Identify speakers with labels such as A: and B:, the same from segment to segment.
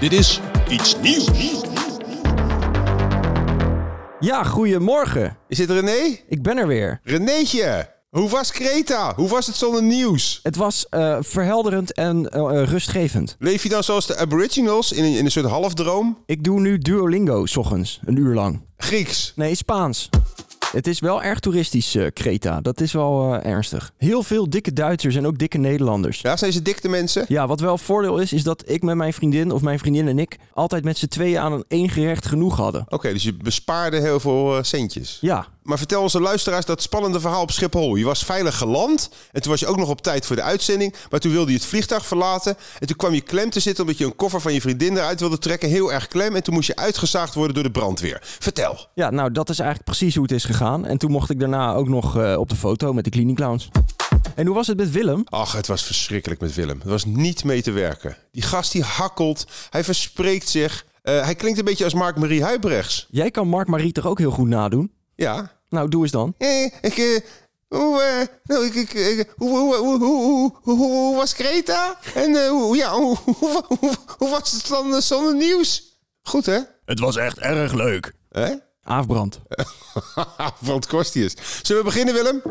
A: Dit is iets nieuws.
B: Ja, goedemorgen.
C: Is dit René?
B: Ik ben er weer.
C: Renéetje, hoe was Kreta? Hoe was het zonder nieuws?
B: Het was eh, verhelderend en eh, eh, rustgevend.
C: Leef je dan zoals de aboriginals in een, in een soort halfdroom?
B: Ik doe nu Duolingo 's ochtends, een uur lang.
C: Grieks.
B: Nee, Spaans. Het is wel erg toeristisch, eh Creta. Dat is wel eh, ernstig. Heel veel dikke Duitsers en ook dikke Nederlanders.
C: Ja, zijn ze dikte mensen?
B: Ja, wat wel voordeel is, is dat ik met mijn vriendin, of mijn vriendin en ik, altijd met z'n tweeën aan een één gerecht genoeg hadden.
C: Oké, dus je bespaarde heel veel eh, centjes.
B: Ja,
C: Maar vertel onze luisteraars dat spannende verhaal op Schiphol. Je was veilig geland en toen was je ook nog op tijd voor de uitzending. Maar toen wilde je het vliegtuig verlaten en toen kwam je klem te zitten... omdat je een koffer van je vriendin eruit wilde trekken. Heel erg klem en toen moest je uitgezaagd worden door de brandweer. Vertel.
B: ja, nou dat is eigenlijk precies hoe het is gegaan. En toen mocht ik daarna ook nog eh, op de foto met de Cleaning Clowns. En hoe was het met Willem?
C: Ach, het was verschrikkelijk met Willem. Het was niet mee te werken. Die gast die hakkelt, hij verspreekt zich. Eh, hij klinkt een beetje als Mark-Marie Huibrechts.
B: Jij kan Mark Marie toch ook heel goed nadoen?
C: Ja.
B: Nou, doe eens dan.
C: Eh, ik, eh, hoe, eh, nou, ik, ik, ik- hoe, hoe, hoe, hoe, hoe, hoe- hoe was Greta? En eh, hoe, ja, hoe, hoe, hoe- hoe was het dan eh, zonder nieuws? Goed, hè?
B: Het was echt erg leuk.
C: Hè?
B: Afbrand.
C: Want Kostius. Zullen we beginnen, Willem?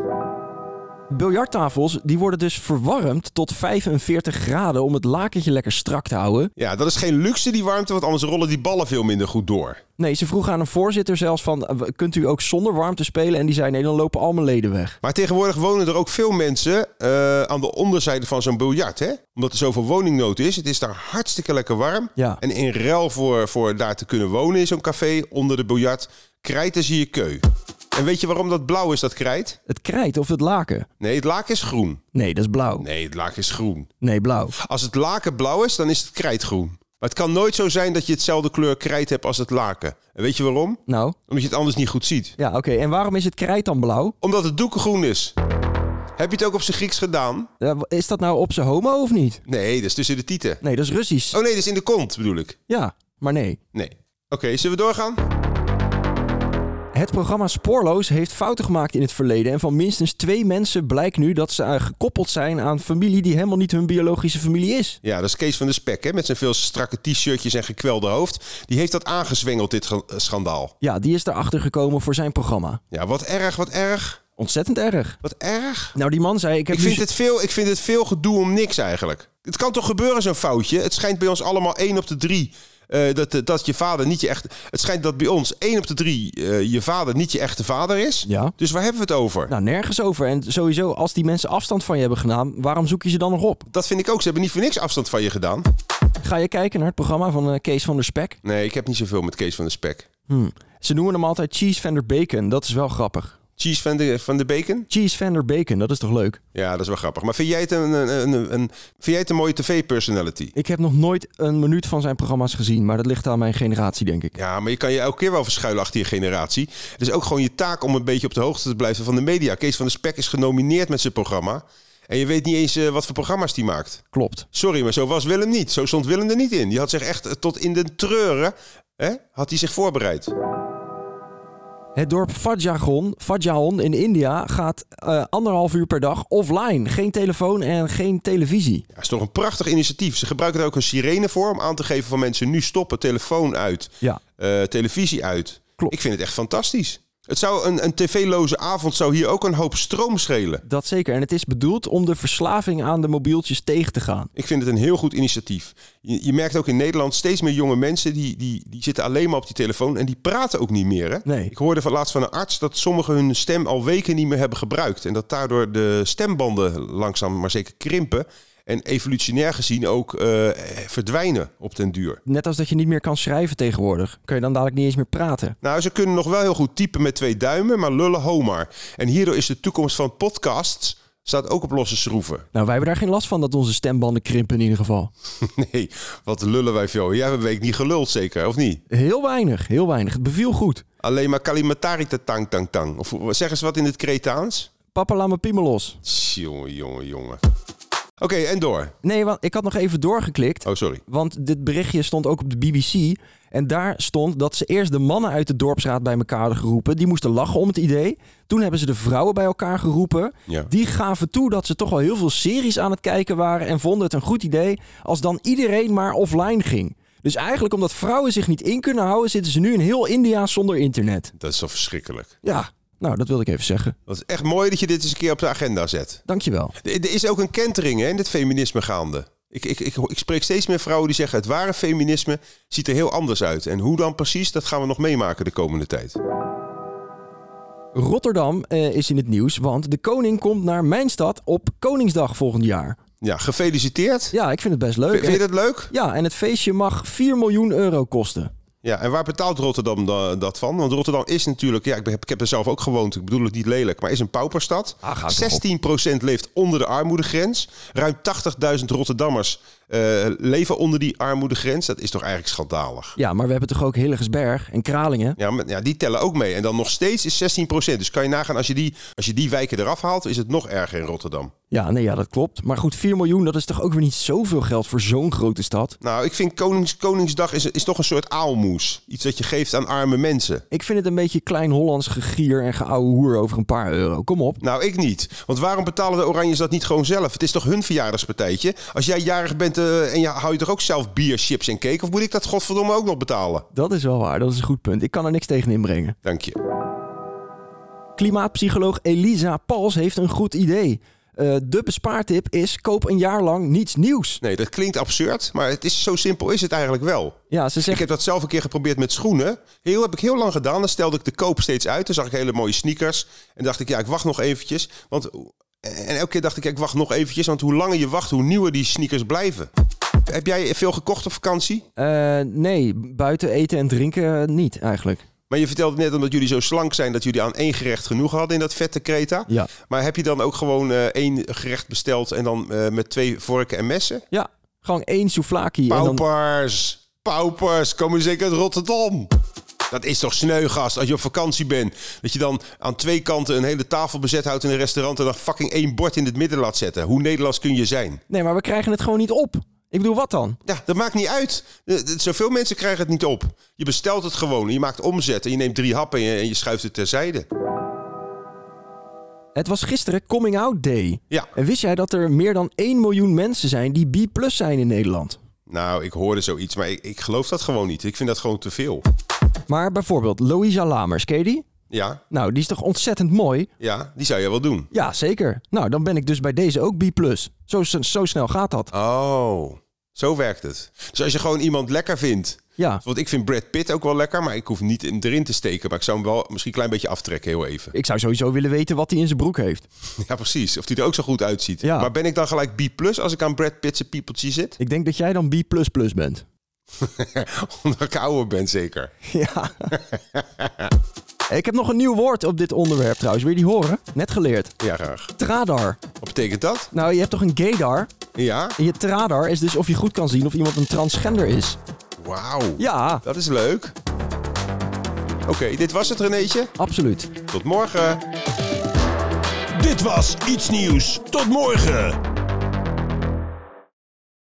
B: Biljarttafels die worden dus verwarmd tot 45 graden om het lakentje lekker strak te houden.
C: Ja, dat is geen luxe, die warmte, want anders rollen die ballen veel minder goed door.
B: Nee, ze vroegen aan een voorzitter zelfs van, eh, kunt u ook zonder warmte spelen? En die zei, nee, dan lopen al mijn leden weg.
C: Maar tegenwoordig wonen er ook veel mensen eh, aan de onderzijde van zo'n biljart. Hè? Omdat er zoveel woningnood is. Het is daar hartstikke lekker warm.
B: Ja.
C: En in ruil voor, voor daar te kunnen wonen in zo'n café onder de biljart, krijten ze je keu. En weet je waarom dat blauw is, dat krijt?
B: Het krijt of het laken?
C: Nee, het laken is groen.
B: Nee, dat is blauw.
C: Nee, het laken is groen.
B: Nee, blauw.
C: Als het laken blauw is, dan is het krijt groen. Maar het kan nooit zo zijn dat je hetzelfde kleur krijt hebt als het laken. En weet je waarom?
B: Nou,
C: Omdat je het anders niet goed ziet.
B: ja, oké. En waarom is het krijt dan blauw?
C: Omdat het doeken groen is. Heb je het ook op zijn Grieks gedaan?
B: Ja, w- is dat nou op zijn homo of niet?
C: Nee, dat is tussen de tieten.
B: Nee, dat is Russisch.
C: Oh nee, dat is in de kont bedoel ik.
B: Ja, maar nee.
C: Nee. Oké, zullen we doorgaan?
B: Het programma Spoorloos heeft fouten gemaakt in het verleden. En van minstens twee mensen blijkt nu dat ze eh, gekoppeld zijn aan familie die helemaal niet hun biologische familie is.
C: Ja, dat is Kees van de Spek, hè? Met zijn veel strakke t-shirtjes en gekwelde hoofd. Die heeft dat aangezwengeld, dit ge- eh, schandaal.
B: Ja, die is erachter gekomen voor zijn programma.
C: Ja, wat erg, wat erg.
B: Ontzettend erg.
C: Wat erg.
B: Nou, die man zei: Ik heb
C: Ik vind,
B: nu-
C: het veel, ik vind het veel gedoe om niks eigenlijk. Het kan toch gebeuren, zo'n foutje? Het schijnt bij ons allemaal één op de drie. eh, dat, eh, dat je vader niet je echte... Het schijnt dat bij ons één op de drie eh, je vader niet je echte vader is.
B: Ja.
C: Dus waar hebben we het over?
B: Nou, nergens over. En sowieso, als die mensen afstand van je hebben gedaan, waarom zoek je ze dan nog op?
C: Dat vind ik ook. Ze hebben niet voor niks afstand van je gedaan.
B: Ga je kijken naar het programma van eh, Kees van der Spek?
C: Nee, ik heb niet zoveel met Kees van de Spek.
B: Ze noemen hem altijd Cheese van der Bacon. Dat is wel grappig.
C: Cheese van de, van de bacon?
B: Cheese van der Bacon, dat is toch leuk?
C: Ja, dat is wel grappig. Maar vind jij het een, een, een, een- een- vind jij het een mooie tv-personality?
B: Ik heb nog nooit een minuut van zijn programma's gezien, maar dat ligt aan mijn generatie, denk ik.
C: Ja, maar je kan je elke keer wel verschuilen achter je generatie. Het is ook gewoon je taak om een beetje op de hoogte te blijven van de media. Kees van der Spek is genomineerd met zijn programma. En je weet niet eens eh, wat voor programma's die maakt.
B: Klopt.
C: Sorry, maar zo was Willem niet. Zo stond Willem er niet in. Die had zich echt eh, tot in de treuren hè, had hij zich voorbereid.
B: Het dorp Fadjagon, Fadjaon in India gaat eh, anderhalf uur per dag offline. Geen telefoon en geen televisie.
C: Ja, is toch een prachtig initiatief. Ze gebruiken er ook een sirene voor om aan te geven van mensen nu stoppen, telefoon uit,
B: Ja.
C: eh, televisie uit.
B: Klopt.
C: Ik vind het echt fantastisch. Het zou een, een tv-loze avond zou hier ook een hoop stroom schelen.
B: Dat zeker. En het is bedoeld om de verslaving aan de mobieltjes tegen te gaan.
C: Ik vind het een heel goed initiatief. Je, je merkt ook in Nederland steeds meer jonge mensen die, die, die zitten alleen maar op die telefoon en die praten ook niet meer. Hè?
B: Nee.
C: Ik hoorde van laatst van een arts dat sommigen hun stem al weken niet meer hebben gebruikt. En dat daardoor de stembanden langzaam maar zeker krimpen. En evolutionair gezien ook eh, verdwijnen op den duur.
B: Net als dat je niet meer kan schrijven tegenwoordig. Kun je dan dadelijk niet eens meer praten.
C: Nou, ze kunnen nog wel heel goed typen met twee duimen, maar lullen homar. En hierdoor is de toekomst van podcasts staat ook op losse schroeven.
B: Nou, wij hebben daar geen last van dat onze stembanden krimpen in ieder geval.
C: Nee, wat lullen wij veel. Jij hebt een week niet geluld zeker, of niet?
B: Heel weinig, heel weinig. Het beviel goed.
C: Alleen maar kalimatari ta tang tang tang. Of zeg eens wat in het Kretaans.
B: Papa, laat mijn piemel los.
C: Jongen, jongen, jongen. Oké, en door.
B: Nee, want ik had nog even doorgeklikt.
C: Oh, sorry.
B: Want dit berichtje stond ook op de BBC. En daar stond dat ze eerst de mannen uit de dorpsraad bij elkaar hadden geroepen. Die moesten lachen om het idee. Toen hebben ze de vrouwen bij elkaar geroepen.
C: Ja.
B: Die gaven toe dat ze toch wel heel veel series aan het kijken waren. En vonden het een goed idee als dan iedereen maar offline ging. Dus eigenlijk omdat vrouwen zich niet in kunnen houden, zitten ze nu in heel India zonder internet.
C: Dat is zo verschrikkelijk.
B: Ja, nou dat wilde ik even zeggen.
C: Dat is echt mooi dat je dit eens een keer op de agenda zet.
B: Dankjewel.
C: Er er is ook een kentering hè, in het feminisme gaande. Ik, ik, ik, ik spreek steeds meer vrouwen die zeggen... het ware feminisme ziet er heel anders uit. En hoe dan precies, dat gaan we nog meemaken de komende tijd.
B: Rotterdam eh, is in het nieuws, want de koning komt naar mijn stad op Koningsdag volgend jaar.
C: Ja, gefeliciteerd.
B: Ja, ik vind het best leuk.
C: Vind- Vind je
B: En-
C: dat leuk?
B: Ja, en het feestje mag 4 miljoen euro kosten.
C: Ja, en waar betaalt Rotterdam da- dat van? Want Rotterdam is natuurlijk, ja, ik, heb, ik heb er zelf ook gewoond, ik bedoel het niet lelijk, maar is een pauperstad.
B: Ah, gaat toch
C: 16% leeft onder de armoedegrens. Ruim 80.000 Rotterdammers eh, leven onder die armoedegrens. Dat is toch eigenlijk schandalig?
B: Ja, maar we hebben toch ook Hilligersberg en Kralingen?
C: Ja, maar, ja, die tellen ook mee. En dan nog steeds is 16%. Dus kan je nagaan, als je, die, als je die wijken eraf haalt, is het nog erger in Rotterdam.
B: Ja, nee, ja, dat klopt. Maar goed, 4 miljoen, dat is toch ook weer niet zoveel geld voor zo'n grote stad?
C: Nou, ik vind Konings, Koningsdag is, is toch een soort aalmoes. Iets dat je geeft aan arme mensen.
B: Ik vind het een beetje klein Hollands gegier en geouwe hoer over een paar euro. Kom op.
C: Nou, ik niet. Want waarom betalen de Oranjes dat niet gewoon zelf? Het is toch hun verjaardagspartijtje? Als jij jarig bent eh, en je, hou je toch ook zelf bier, chips en cake? Of moet ik dat godverdomme ook nog betalen?
B: Dat is wel waar, dat is een goed punt. Ik kan er niks tegen inbrengen.
C: Dank je.
B: Klimaatpsycholoog Elisa Pals heeft een goed idee. Eh, de bespaartip is: koop een jaar lang niets nieuws.
C: Nee, dat klinkt absurd, maar het is, zo simpel is het eigenlijk wel.
B: Ja, ze
C: Ik
B: zegt.
C: heb dat zelf een keer geprobeerd met schoenen. Heel heb ik heel lang gedaan. Dan stelde ik de koop steeds uit. Dan zag ik hele mooie sneakers. En dacht ik, ja, ik wacht nog eventjes. Want, en elke keer dacht ik, ja, ik wacht nog eventjes. Want hoe langer je wacht, hoe nieuwer die sneakers blijven. Heb jij veel gekocht op vakantie?
B: eh, nee, buiten eten en drinken eh, niet eigenlijk.
C: Maar je vertelde net omdat jullie zo slank zijn dat jullie aan één gerecht genoeg hadden in dat vette Kreta.
B: Ja.
C: Maar heb je dan ook gewoon eh, één gerecht besteld en dan eh, met twee vorken en messen?
B: Ja, gewoon één souvlaki. En dan,
C: Paupers! Paupers! Komen zeker uit Rotterdam! Dat is toch sneugast als je op vakantie bent. Dat je dan aan twee kanten een hele tafel bezet houdt in een restaurant en dan fucking één bord in het midden laat zetten. Hoe Nederlands kun je zijn?
B: nee, maar we krijgen het gewoon niet op. Ik bedoel, wat dan?
C: Ja, dat maakt niet uit. Eh, eh, Zoveel mensen krijgen het niet op. Je bestelt het gewoon. en Je maakt omzet en je neemt drie happen en je, en je schuift het terzijde.
B: Het was gisteren Coming Out Day.
C: Ja.
B: En wist jij dat er meer dan 1 miljoen mensen zijn die B plus zijn in Nederland?
C: Nou, ik hoorde zoiets, maar ik, ik geloof dat gewoon niet. Ik vind dat gewoon te veel.
B: Maar bijvoorbeeld Louisa Lamers, ken je die?
C: Ja,
B: Nou, die is toch ontzettend mooi?
C: ja, die zou je wel doen.
B: Ja, zeker. Nou, dan ben ik dus bij deze ook B+. plus. Zo, s- zo snel gaat dat.
C: Oh, zo werkt het. Dus als je gewoon iemand lekker vindt.
B: Ja,
C: Want ik vind Brad Pitt ook wel lekker, maar ik hoef hem niet in, erin te steken. Maar ik zou hem wel misschien een klein beetje aftrekken, heel even.
B: ik zou sowieso willen weten wat hij in zijn broek heeft.
C: Ja, precies. Of die er ook zo goed uitziet.
B: Ja.
C: Maar ben ik dan gelijk B als ik aan Brad Pitt's piepeltje zit?
B: Ik denk dat jij dan B++ bent.
C: Omdat ik ouder ben, zeker.
B: Ja. ik heb nog een nieuw woord op dit onderwerp trouwens. Wil je die horen? Net geleerd.
C: Ja, graag.
B: Tradar.
C: Wat betekent dat?
B: Nou, je hebt toch een gaydar?
C: Ja?
B: En je tradar is dus of je goed kan zien of iemand een transgender is.
C: Wauw.
B: Ja,
C: Dat is leuk. Oké, dit was het, Renéetje.
B: absoluut.
C: Tot morgen.
A: Dit was Iets Nieuws. Tot morgen.